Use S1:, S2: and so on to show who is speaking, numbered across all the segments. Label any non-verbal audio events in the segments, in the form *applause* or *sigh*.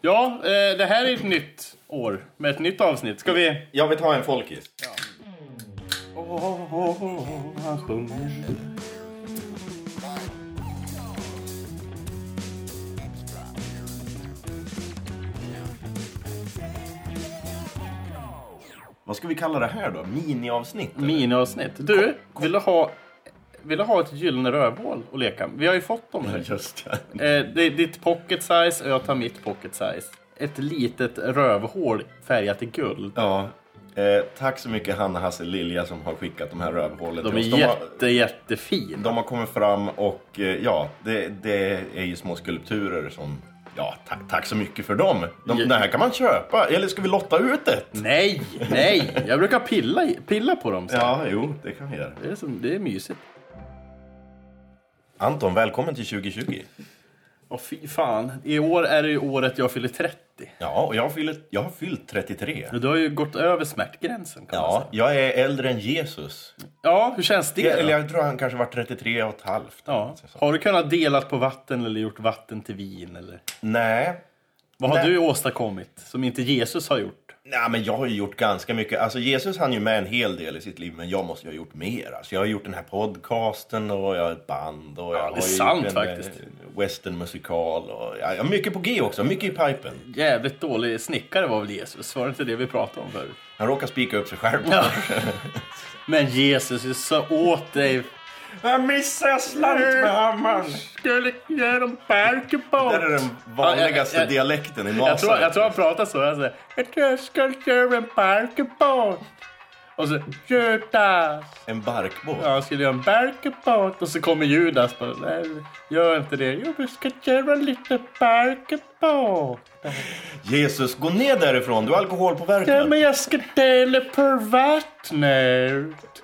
S1: Ja, eh, det här är ett nytt år med ett nytt avsnitt. Ska vi...
S2: Jag vill ta en folkis.
S1: Åh, åh, åh, åh, han sjunger.
S2: Vad ska vi kalla det här då? Miniavsnitt?
S1: Miniavsnitt. Du, vill du ha... Vill du ha ett gyllene rövhål att leka med? Vi har ju fått dem nu.
S2: Just det.
S1: Eh, det är ditt pocket size och jag tar mitt pocket size. Ett litet rövhål färgat i guld.
S2: Ja. Eh, tack så mycket Hanna, Hasse, Lilja som har skickat de här rövhålen
S1: De är
S2: till oss.
S1: jätte,
S2: har,
S1: jättefina.
S2: de har kommit fram och eh, ja, det, det är ju små skulpturer som... Ja, tack, tack så mycket för dem. De,
S1: Ja.
S2: Det här kan man köpa. Eller ska vi lotta ut ett?
S1: Nej, nej! Jag brukar pilla, i- pilla på dem. Så.
S2: Ja, jo, det kan vi göra.
S1: Det, är som, det är mysigt.
S2: Anton, välkommen till 2020.
S1: Åh fy fan. I år är det ju året jag fyller 30.
S2: Ja, och jag har fyllt, jag har fyllt 33.
S1: Du har ju gått över smärtgränsen kan man
S2: Ja,
S1: säga.
S2: jag är äldre än Jesus.
S1: Ja, hur känns det?
S2: Eller
S1: då?
S2: jag tror han kanske var 33 och ett halvt.
S1: Ja. Har du kunnat delat på vatten eller gjort vatten till vin? Eller?
S2: Nej,
S1: Vad har
S2: Nej.
S1: du åstadkommit som inte Jesus har gjort?
S2: Nej, men jag har ju gjort ganska mycket. Alltså Jesus hann ju med en hel del i sitt liv, men jag måste ju ha gjort mer. Alltså, jag har gjort den här podcasten och jag har ett band och
S1: det
S2: jag har
S1: är
S2: ju
S1: sant
S2: gjort en
S1: faktiskt.
S2: eh, westernmusikal och ja, jag har mycket på G också, mycket i pipen.
S1: Jävligt dålig snickare var väl Jesus? Var det inte det vi pratade om förut?
S2: Han råkar spika upp sig själv.
S1: Men Jesus, jag sa åt dig.
S2: jag missade slant med hammaren!
S1: Skulle ge dem parken på.
S2: Det där är den
S1: Ja,
S2: vanligaste
S1: jag- jag-
S2: dialekten i
S1: Jag tror,
S2: Nasa.
S1: jag tror han pratar så. Han säger jag tror jag ska köra en barkebåt. Och så Judas.
S2: En barkbåt.
S1: Ja, han skulle göra en barkebåt. Och så kommer Judas bara. Nej, gör inte det. Jo, vi ska köra en liten barkebåt.
S2: Jesus, gå ner därifrån, du är
S1: Ja,
S2: alkoholpåverkad.
S1: men jag ska dela på vattnet.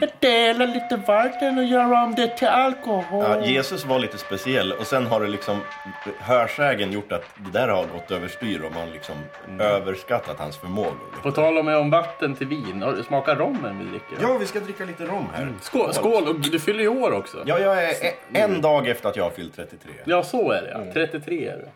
S1: Jag delar lite vatten och gör om det till alkohol.
S2: Ja, Jesus var lite speciell och sen har det liksom hörsägen gjort att det där har gått överstyr och man liksom
S1: Mm.
S2: överskattat hans förmågor.
S1: På tal om, om vatten till vin. har du- Smakar rommen vi dricker?
S2: Ja, vi ska dricka lite rom här.
S1: Skål, skål! Och du fyller ju år också.
S2: Mm. Ja, jag är e- en dag efter att jag har fyllt 33.
S1: Ja, så är det
S2: Mm.
S1: ja. 33 är det.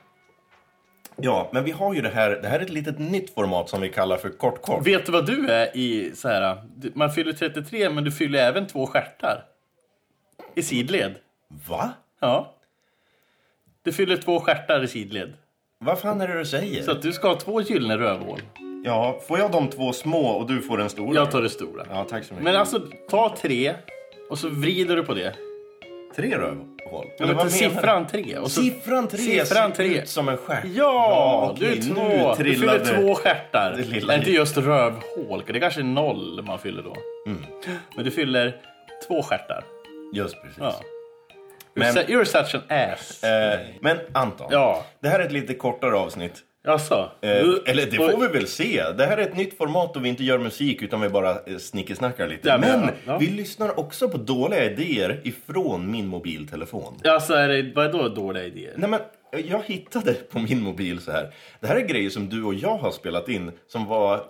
S2: Ja, men vi har ju det här. Det här är ett litet nytt format som vi kallar för kort kort.
S1: Vet du vad du är i så här... du- Man fyller 33 men du fyller även två stjärtar. I sidled.
S2: Va?
S1: Ja. Du fyller två stjärtar i sidled.
S2: Vad fan är det du säger?
S1: Så att du ska ha två gyllene rövhål.
S2: Ja, får jag de två små och du får den stora?
S1: Jag tar det stora.
S2: Ja, tack så mycket.
S1: Men alltså, ta tre och så vrider du på det.
S2: tre rövhål?
S1: Ja,
S2: Eller vad
S1: men
S2: menar
S1: siffran tre. Och
S2: du?
S1: så,
S2: Siffran tre
S1: Siffran
S2: ser
S1: tre.
S2: ut som en stjärt.
S1: Ja,
S2: okej,
S1: du är
S2: Nu
S1: två. Du
S2: trillade...
S1: fyller två stjärtar.
S2: Det lilla
S1: Inte just rövhål. Det kanske är noll man fyller då.
S2: Mm.
S1: Men du fyller två stjärtar.
S2: Just precis.
S1: Ja.
S2: Men-
S1: You're su- You're such an ass.
S2: Eh, men Anton,
S1: Ja.
S2: det här är ett lite kortare avsnitt.
S1: Jaså?
S2: Eh, eller det får vi väl se. Det här är ett nytt format och vi inte gör musik utan vi bara eh, snickesnackar lite.
S1: Ja, men-
S2: men
S1: ja.
S2: vi lyssnar också på dåliga idéer ifrån min mobiltelefon.
S1: Alltså, är det, vadå dåliga idéer?
S2: Nej, men eh, jag hittade på min mobil så här. Det här är grejer som du och jag har spelat in som var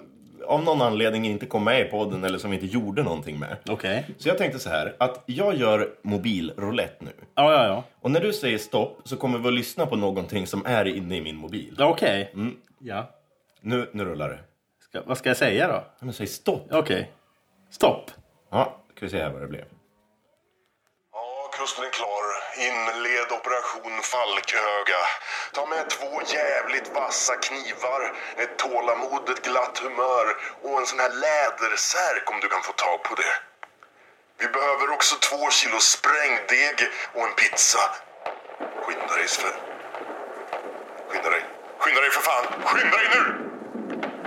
S2: av någon anledning inte kom med i podden eller som vi inte gjorde någonting med.
S1: Okej.
S2: Så jag tänkte så här att jag gör mobilroulette nu.
S1: Ja, ja, ja.
S2: Och när du säger stopp så kommer vi att lyssna på någonting som är inne i min mobil.
S1: ja Okej.
S2: Mm.
S1: Ja.
S2: Nu, nu rullar det.
S1: Ska, vad ska jag säga då?
S2: Ja, Men säg stopp.
S1: Okej. Stopp.
S2: Ja, ska vi se här vad det blev.
S3: Ja, kusten är klar. Inled operation Falköga. Ta med två jävligt vassa knivar, ett tålamod, ett glatt humör och en sån här lädersärk om du kan få tag på det. Vi behöver också två kilo sprängdeg och en pizza. Skynda dig, Sven. Skynda dig. Skynda dig för fan! Skynda dig nu!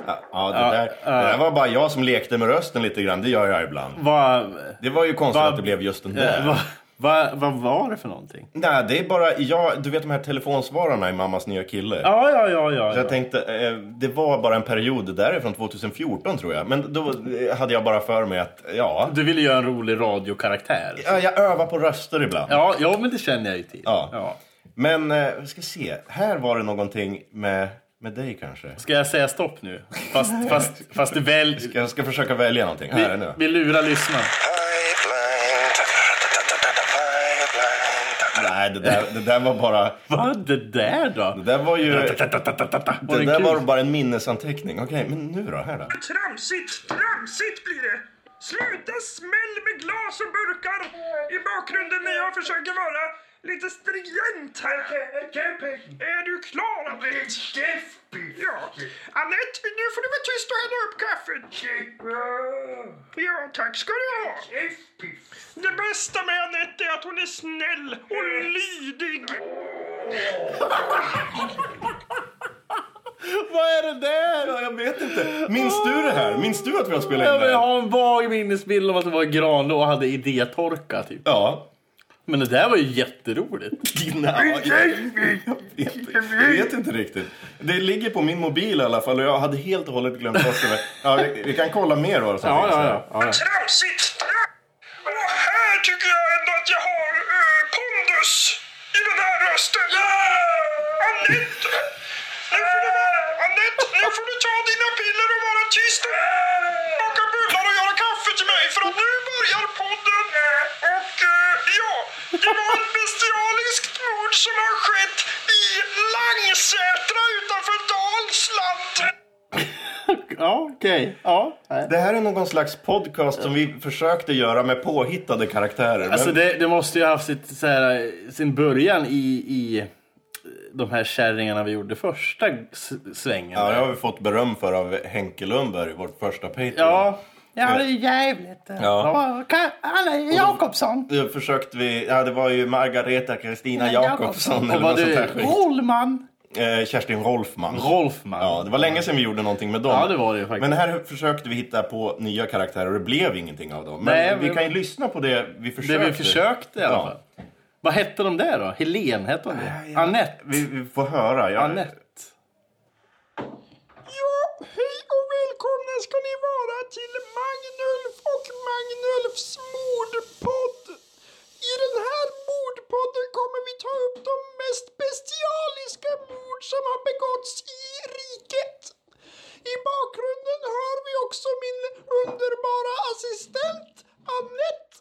S2: Ja, ja, det, där, det där var bara jag som lekte med rösten lite grann. Det gör jag ibland.
S1: Vad...
S2: Det var ju konstigt
S1: Va-
S2: att det blev just den där.
S1: eh, Vad vad- vad var det för någonting?
S2: Nej, det är bara jag. Du vet de här telefonsvararna i Mammas nya kille.
S1: Ja, ja, ja, ja.
S2: Så jag tänkte, eh, det var bara en period där från 2014 tror jag. Men då eh, hade jag bara för mig att, ja.
S1: Du ville göra en rolig radiokaraktär.
S2: ja, Jag övar på röster ibland.
S1: Ja, ja, men det känner jag ju till.
S2: Ja. Men, eh, vi ska se. Här var det någonting med, med dig kanske.
S1: Ska jag säga stopp nu? Fast, fast, fast du väl...
S2: Jag ska försöka välja någonting. Här är nu.
S1: Vi lurar lyssnarna.
S3: Pipeline. Pipeline.
S2: Nej, Nej, det där, det där var bara...
S1: Vad det där
S2: Det
S1: då?
S2: där var ju...
S1: Var
S2: Det
S1: den
S2: där
S1: kul?
S2: var bara en minnesanteckning. Okej, men nu då? Här då?
S4: Tramsigt, tramsigt blir det! Sluta smäll med glas och burkar i bakgrunden när jag försöker vara lite stringent här. Är du klar, Annette? Ja. Annette, nu får du vara tyst och hälla upp kaffet. Ja, tack ska du ha. Det bästa med Annette är att hon är snäll och lydig.
S1: *laughs* Vad är det där?
S2: Ja, jag vet inte. Minns du det här? Minns du att vi har spelat in
S1: Jag
S2: det
S1: vill
S2: här?
S1: ha en vag minnesbild av att det var Granlund och hade idétorka typ.
S2: Ja.
S1: Men det där var ju jätteroligt.
S2: Dina, jag, vet, jag vet inte riktigt. Det ligger på min mobil i alla fall och jag hade helt och hållet glömt bort det. Ja, vi, vi kan kolla mer vad som
S1: Ja,
S2: finns
S1: ja,
S2: här.
S1: ja. ja, ja.
S4: Tramsigt! Och här tycker jag ändå att jag har eh, pondus i den här rösten. Anette! Nu får du vara... Anette, nu får du ta dina piller och vara tyst och baka bullar och göra kaffe till mig för att nu börjar podden. Och eh, ja, det var ett bestialiskt mord som har skett i Langsätra utanför Dalsland.
S1: Ja, okej. Ja. nej.
S2: Det här är någon slags podcast som vi försökte göra med påhittade karaktärer.
S1: Alltså
S2: men,
S1: det, det måste ju ha haft sitt, så här, sin början i, i eh, de här kärringarna vi gjorde första s- svängen.
S2: ja, det har vi fått beröm för av Henke Lundberg, vårt första Patreon.
S1: ja. Ja, det är jävligt.
S2: Ja.
S1: Anna Jakobsson.
S2: Då försökte vi, ja det var ju Margareta Kristina Jakobsson
S1: Och
S2: eller
S1: vad
S2: något sånt
S1: du,
S2: där skit.
S1: Rollman.
S2: Eh, Kerstin Rolfman.
S1: Rolfman.
S2: Ja, det var länge sedan vi gjorde någonting med dem.
S1: Ja, det var det ju faktiskt.
S2: Men här försökte vi hitta på nya karaktärer och det blev ingenting av dem. Men
S1: Nej,
S2: vi
S1: men-
S2: kan ju lyssna på det vi
S1: det
S2: försökte.
S1: vi försökte i alla
S2: Ja.
S1: fall. Vad hette de där då? Helen hette hon det?
S2: ja.
S1: Annette.
S2: Vi, vi får höra. Jag...
S1: Annette.
S4: Ja, hej och välkomna ska ni vara till Magnulf och Magnulfs mordpodd. I den här mordpodden kommer vi ta upp de mest bestialiska mord som har begåtts i riket. I bakgrunden hör vi också min underbara assistent Annette.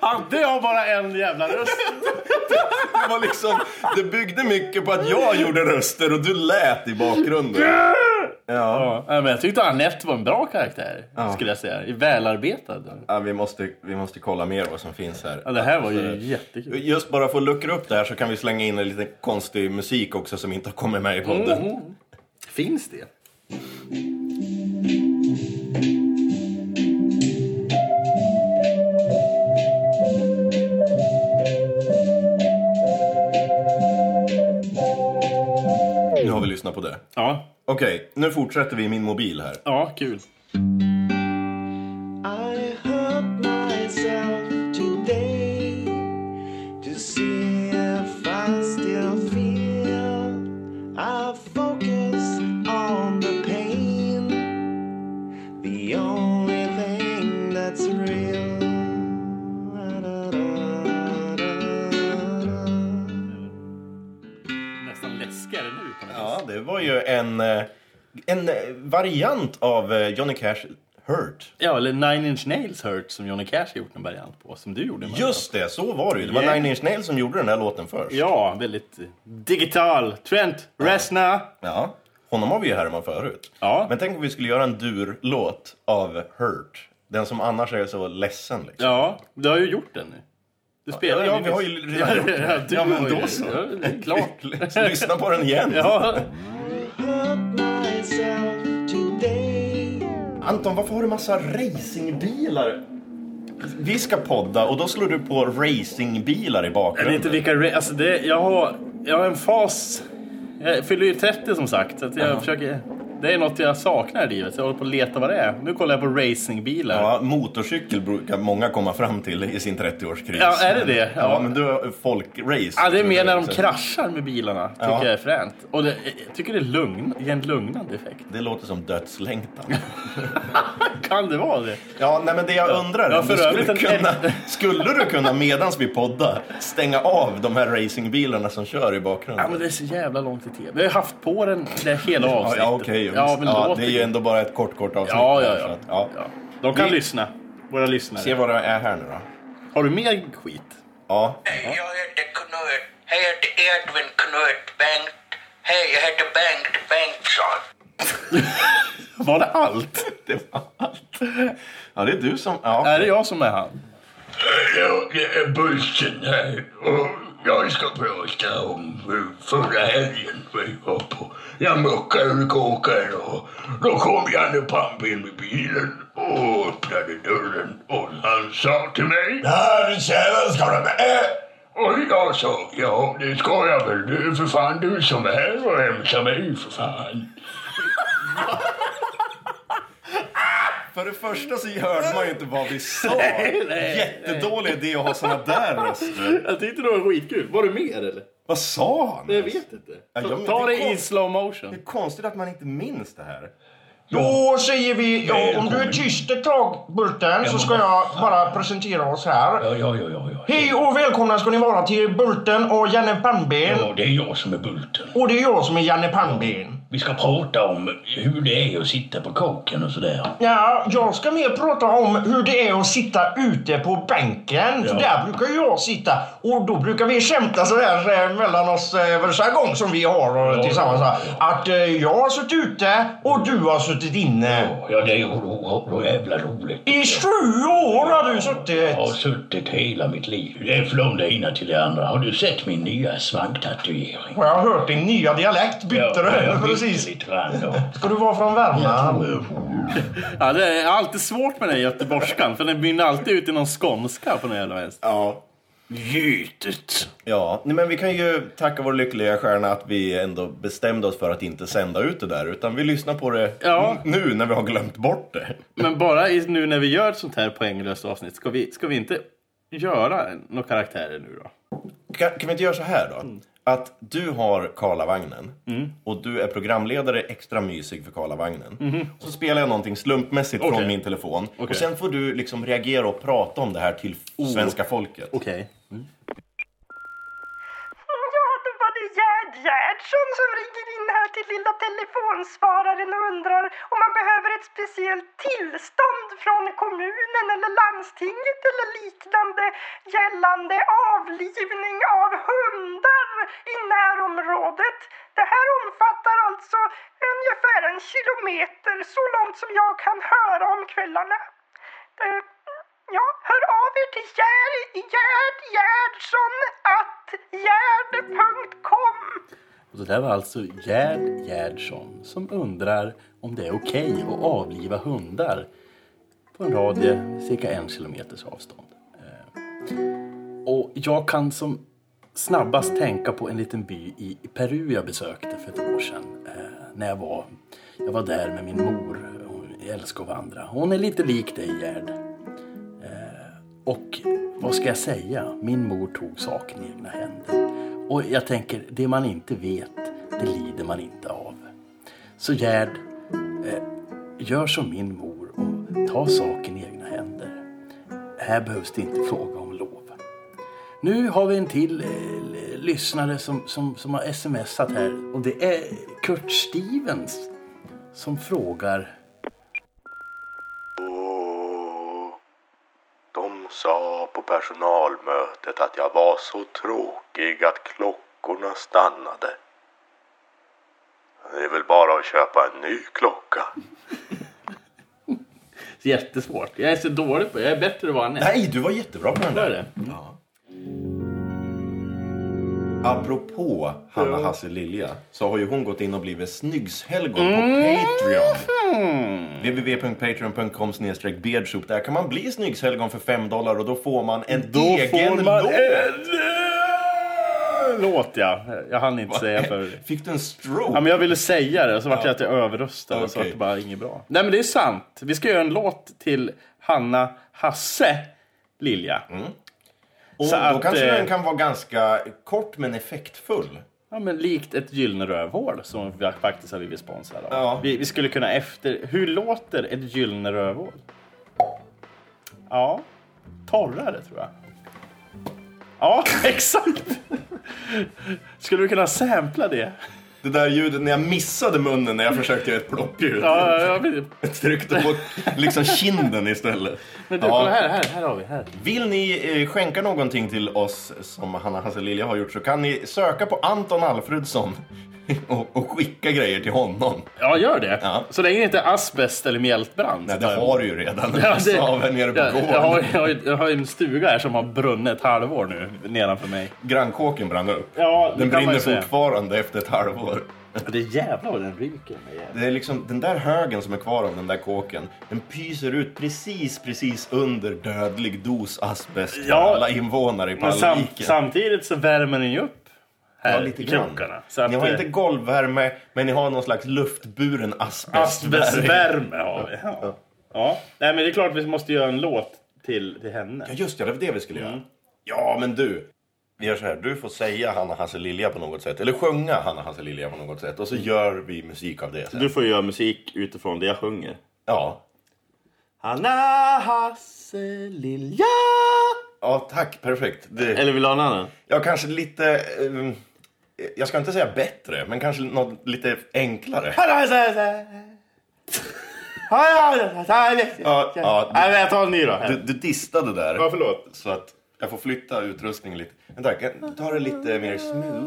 S1: Hade jag bara en jävla röst?
S2: *laughs* Det, var liksom, det byggde mycket på att jag gjorde röster och du lät i bakgrunden. Ja.
S1: Ja, men jag tyckte Annette var en bra karaktär. Skulle jag säga. Välarbetad.
S2: Ja, vi, måste, vi måste kolla mer vad som finns här.
S1: Ja, det här var ju jättekul.
S2: Just bara för att luckra upp det här så kan vi slänga in en lite konstig musik också som inte har kommit med i podden.
S1: Mm. Finns det? Mm.
S2: Nu har vi lyssnat på det.
S1: Ja.
S2: Okej, nu fortsätter vi i min mobil här.
S1: Ja, kul.
S5: I hurt myself today to see if I still feel. I focus on the pain, the only thing that's real.
S1: Nästan läskigare nu på något
S2: Ja, det var ju en, eh, en eh, variant av eh, Johnny Cash Hurt.
S1: Ja, eller Nine Inch Nails Hurt som Johnny Cash har gjort en variant på. Som du gjorde. Mario.
S2: Just det, så var det ju. Det var
S1: Yeah.
S2: Nine Inch Nails som gjorde den här låten först.
S1: Ja, väldigt eh, digital. Trent Reznor.
S2: Ja. Honom har vi ju härmat förut.
S1: Ja.
S2: Men tänk om vi skulle göra en dur-låt av Hurt. Den som annars är så ledsen liksom.
S1: Ja, du har ju gjort den nu. Du spelar
S2: ja,
S1: den
S2: vi har ju redan gjort
S1: *laughs* Ja,
S2: det.
S1: du
S2: Ja, men
S1: har ju
S2: då
S1: det.
S2: så.
S1: Ja, det är
S2: *laughs*
S1: klart.
S2: Lyssna på den igen.
S1: Ja,
S5: Hurt myself today.
S2: Anton, varför har du massa racingbilar? Vi ska podda och då slår du på racingbilar i
S1: jag
S2: bakgrunden.
S1: vet inte vilka... re- Alltså det, jag, har, jag har en fas... Jag fyller ju 30 som sagt. Så att jag försöker, det är något jag saknar i livet. Så jag håller på att leta vad det är. Nu kollar jag på racingbilar.
S2: Ja, motorcykel brukar många komma fram till i sin 30-årskris.
S1: Ja, är det det?
S2: Ja, men du har folkrace.
S1: Ja, det är mer när de kraschar med bilarna. Tycker
S2: Ja.
S1: jag är fränt. Och det, jag tycker det är lugn, ger en lugnande effekt.
S2: Det låter som dödslängtan.
S1: Kan det vara det?
S2: Ja, nej, men det jag undrar
S1: Ja,
S2: om du
S1: för övrigt
S2: skulle,
S1: en-
S2: kunna,
S1: *laughs*
S2: skulle du kunna medans vi poddar stänga av de här racingbilarna som kör i
S1: Ja,
S2: bakgrunden?
S1: men det är så jävla långt i tv. Vi har ju haft på den det hela
S2: Ja,
S1: avsnittet.
S2: ja okej.
S1: ja,
S2: visst.
S1: men
S2: ja,
S1: låter
S2: det är ju ändå bara ett kort, kort avsnitt.
S1: Ja,
S2: här,
S1: ja,
S2: så
S1: ja.
S2: att, ja.
S1: Ja. De kan
S2: Vi-
S1: lyssna. Våra lyssnare.
S2: Se vad det är här nu då.
S1: Har du mer skit?
S2: Ja,
S6: Hej, jag heter Knut. Hej, jag heter Edvin Knut Bengt. Hej, jag heter Bengt Bengtsson.
S1: Var det allt?
S2: det var allt. Ja, det är du som... Ja.
S1: Är det jag som är han?
S7: Jag är bussen här och jag ska prata om hur förra helgen vi var på Jamaica-kåken och då kom Janne Palmgren med bilen och öppnade dörren och han sa till mig. Här tjena, ska du med? Och jag sa, ja det ska jag väl. Det är för fan du som är här och hämtar mig för fan.
S2: För det första så hörde man ju inte vad vi *laughs* sa. Jättedålig idé att ha såna där röster.
S1: Jag tyckte det var skitkul. Var du mer eller?
S2: Vad sa han?
S1: Jag
S2: ens?
S1: vet inte.
S2: Ja, ja, men
S1: Ta
S2: det
S1: det,
S2: kom-
S1: i slow motion.
S2: Det är konstigt att man inte minns det här.
S8: Då säger vi, ja, om du är tyst ett tag Bulten så ska jag bara presentera oss här.
S7: Ja, ja, ja, ja. ja.
S8: Hej och välkomna ska ni vara till Bulten och Janne Pannben.
S7: Ja, det är jag som är Bulten.
S8: Och det är jag som är Janne Pannben.
S7: Vi ska prata om hur det är att sitta på kåken och sådär.
S8: Ja, jag ska mer prata om hur det är att sitta ute på bänken. För
S7: Ja.
S8: där brukar jag sitta och då brukar vi skämta sådär eh, mellan oss eh, varje gång som vi har eh, tillsammans. här. Att eh, jag har suttit ute och du har suttit inne.
S7: Ja, det är ju ro- ro- jävla roligt.
S8: I sju år har du
S7: Jag har
S8: suttit.
S7: suttit hela mitt liv. Det är från det ena till det andra. Har du sett min nya svanktatuering?
S8: Och jag har hört din nya dialekt bytte
S7: jag
S8: du
S7: bytte
S8: precis.
S7: lite grann då.
S8: Ska du vara från Värmland?
S1: Ja, det är alltid svårt med den här göteborgskan. För den mynnar alltid ut i någon skånska på något jävla vänster.
S2: Ja.
S1: Gytet.
S2: Ja, nej, men vi kan ju tacka vår lyckliga stjärna att vi ändå bestämde oss för att inte sända ut det där. Utan vi lyssnar på det
S1: Ja.
S2: nu när vi har glömt bort det.
S1: Men bara i, nu när vi gör ett sånt här poänglöst avsnitt. Ska vi, ska vi inte göra några karaktärer nu då?
S2: Kan, kan vi inte göra så här då? Att du har Karlavagnen
S1: Mm.
S2: och du är programledare extra mysig för Karlavagnen. Så spelar jag någonting slumpmässigt
S1: Mm-hmm. Okej.
S2: från min telefon.
S1: Okej. Oh.
S2: Och sen får du liksom reagera och prata om det här till svenska folket.
S1: Okej.
S9: Ja, då var det Gerd Gerdsson som ringer in här till lilla telefonsvararen och undrar om man behöver ett speciellt tillstånd från kommunen eller landstinget eller liknande gällande avlivning av hundar i närområdet. Det här omfattar alltså ungefär en kilometer, så långt som jag kan höra om kvällarna. Eh, Ja, hör av er till Gerd, Gerd Gerdsson att gerd.com.
S1: Och det där var alltså Gerd Gerdsson som undrar om det är okej att avliva hundar på en radie cirka en kilometers avstånd. Eh, Och jag kan som snabbast tänka på en liten by i Peru jag besökte för ett år sedan. eh, När jag var, jag var där med min mor. Hon älskar att vandra. Hon är lite lik dig Gerd. Och vad ska jag säga? Min mor tog saken i egna händer. Och jag tänker, det man inte vet, det lider man inte av. Så Gerd, eh, gör som min mor och ta saken i egna händer. Här behövs det inte fråga om lov. Nu har vi en till eh, l- lyssnare som, som, som har smsat här och det är Kurt Stevens som frågar
S3: De sa på personalmötet att jag var så tråkig att klockorna stannade. Det är väl bara att köpa en ny
S1: *laughs*
S3: klocka.
S1: Jättesvårt. Jag är så dålig på det. Jag är bättre än vad han är.
S2: Nej, du var jättebra på den
S1: Vad är
S2: där.
S1: det?
S2: Apropå Hanna Hasse Lilja så har ju hon gått in och blivit snyggshelgon
S1: Mm.
S2: på Patreon. www.patreon.com beardsoup. Där kan man bli snyggshelgon för 5 dollar och då får man en egen låt.
S1: en Eh, låt ja. Jag hann inte säga för
S2: *laughs* Fick du en stroke?
S1: Ja, men jag ville säga det och så vart jag att jag överröstade och så vart
S2: Okej.
S1: det bara inget bra. Nej men det är sant. Vi ska göra en låt till Hanna Hasse Lilja.
S2: och
S1: så
S2: då
S1: att,
S2: kanske
S1: eh,
S2: den kan vara ganska kort men effektfull.
S1: Ja, men likt ett gyllene rövhål som vi faktiskt har blivit sponsrade av.
S2: Ja.
S1: Vi, vi skulle kunna efter... Hur låter ett gyllene rövhål? Ja, torrare tror jag. *laughs* Ja, exakt! Skulle du kunna sampla det?
S2: det där ljudet när jag missade munnen när jag försökte göra ett plockljud.
S1: Ja, ja, ja,
S2: Jag tryckte på liksom kinden istället.
S1: men du,
S2: Ja.
S1: kolla här, här, här har vi. Här.
S2: Vill ni eh, skänka någonting till oss som Hanna Hasselilja har gjort så kan ni söka på Anton Alfredsson *laughs* och, och skicka grejer till honom.
S1: Ja, gör det.
S2: Ja.
S1: Så länge det inte är asbest eller mjältbrand.
S2: Nej, det har du ju redan.
S1: Ja,
S2: Ja,
S1: det-
S2: Saven nere på
S1: jag,
S2: gården.
S1: jag, har, jag, har, jag har en stuga här som har brunnit ett halvår nu nedanför mig.
S2: Grannkåken brann upp.
S1: Ja, det
S2: den
S1: kan man
S2: brinner
S1: ju säga.
S2: fortfarande efter ett halvår.
S1: Det är jävlar vad den ryker. den där jäveln.
S2: Det är liksom den där högen som är kvar av den där kåken. Den pyser ut precis, precis under dödlig dos asbest för
S1: Ja.
S2: alla invånare i
S1: Men sam,
S2: Pallviken.
S1: samtidigt så värmer den ju upp här
S2: Ja, lite
S1: i
S2: grann.
S1: krokarna. Så att
S2: Ni har
S1: eh,
S2: inte golvvärme, men ni har någon slags luftburen asbestvärme.
S1: asbestvärme har vi. Ja. Ja. Nej, men det är klart vi måste göra en låt till, till henne.
S2: Ja, just det. Det var det vi skulle göra. Ja, men du. Vi gör så här. Du får säga Hanna Hasselilja på något sätt. Eller sjunga Hanna Hasselilja på något sätt. Och så gör vi musik av det sen.
S10: Du får göra musik utifrån det jag sjunger.
S2: Ja.
S10: Hanna Hasselilja.
S2: Ja, tack. Perfekt. Det...
S10: Eller vill du ha en annan?
S2: Ja, kanske lite... ehm, jag ska inte säga bättre, men kanske något lite enklare. Ja, ja,
S10: Nej, men jag tar en ny då.
S2: Du, du distade där.
S10: Ja, förlåt.
S2: Så att jag får flytta utrustningen lite. Vänta, kan- ta det lite mer smooth.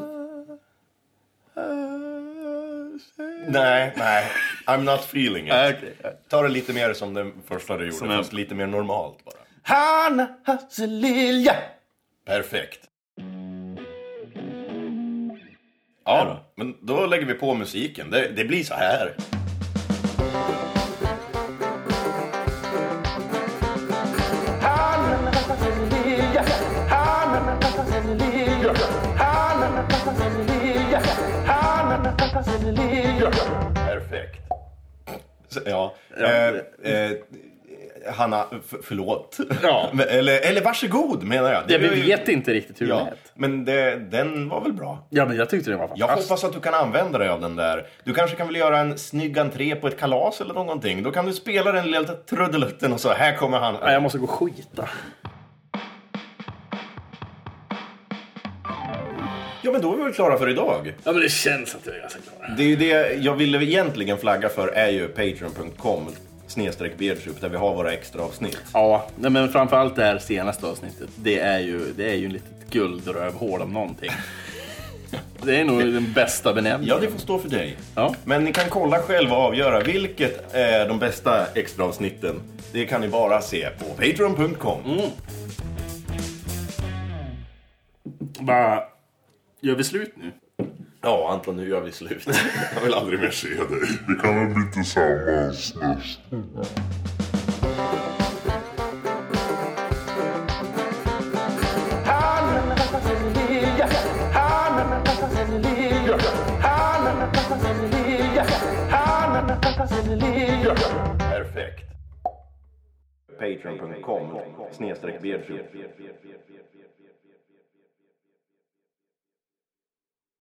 S2: Nej, nej. I'm not feeling it.
S10: Ja, okej.
S2: Ta det lite mer som den första du gjorde,
S10: en-
S2: fast lite mer normalt bara.
S10: Hanna Hasselilja.
S2: Perfekt. Ja, men då lägger vi på musiken. Det, det blir så här. Perfekt. Så, Ja. Eh, eh, Hanna, f- förlåt.
S1: Ja.
S2: *laughs* Men- eller, eller varsågod menar jag. Det
S1: Ja,
S2: var
S1: vi
S2: ju-
S1: vet inte riktigt hur det
S2: Ja,
S1: lät.
S2: men det, den var väl bra?
S1: Ja, men jag tyckte det var
S2: Jag
S1: fantastiskt.
S2: hoppas att du kan använda dig av den där. Du kanske kan väl göra en snygg entré på ett kalas eller någonting. Då kan du spela den lilla trudelutten och så här kommer han.
S1: Nej, jag måste gå och skita.
S2: Ja, men då är vi väl klara för idag.
S1: Ja, men det känns att jag är ganska klar.
S2: Det är ju det jag ville egentligen flagga för är ju patreon.com snedstreck Beardsoup, där vi har våra extra avsnitt.
S1: Ja, nej, men framförallt det här senaste avsnittet. Det är ju, det är ju en litet guldrövhål om *laughs* någonting. Det är nog den bästa benämningen.
S2: Ja, det får stå för dig.
S1: Ja.
S2: Men ni kan kolla själva och avgöra vilket är de bästa extra avsnitten. Det kan ni bara se på patreon.com.
S1: Bara, gör vi slut nu?
S2: Ja, Anton, nu gör vi *laughs* slut. Jag vill aldrig mer se dig.
S3: Vi kan väl bli tillsammans nästa
S2: Perfekt. Patreon.com snedstreck Beardsoup.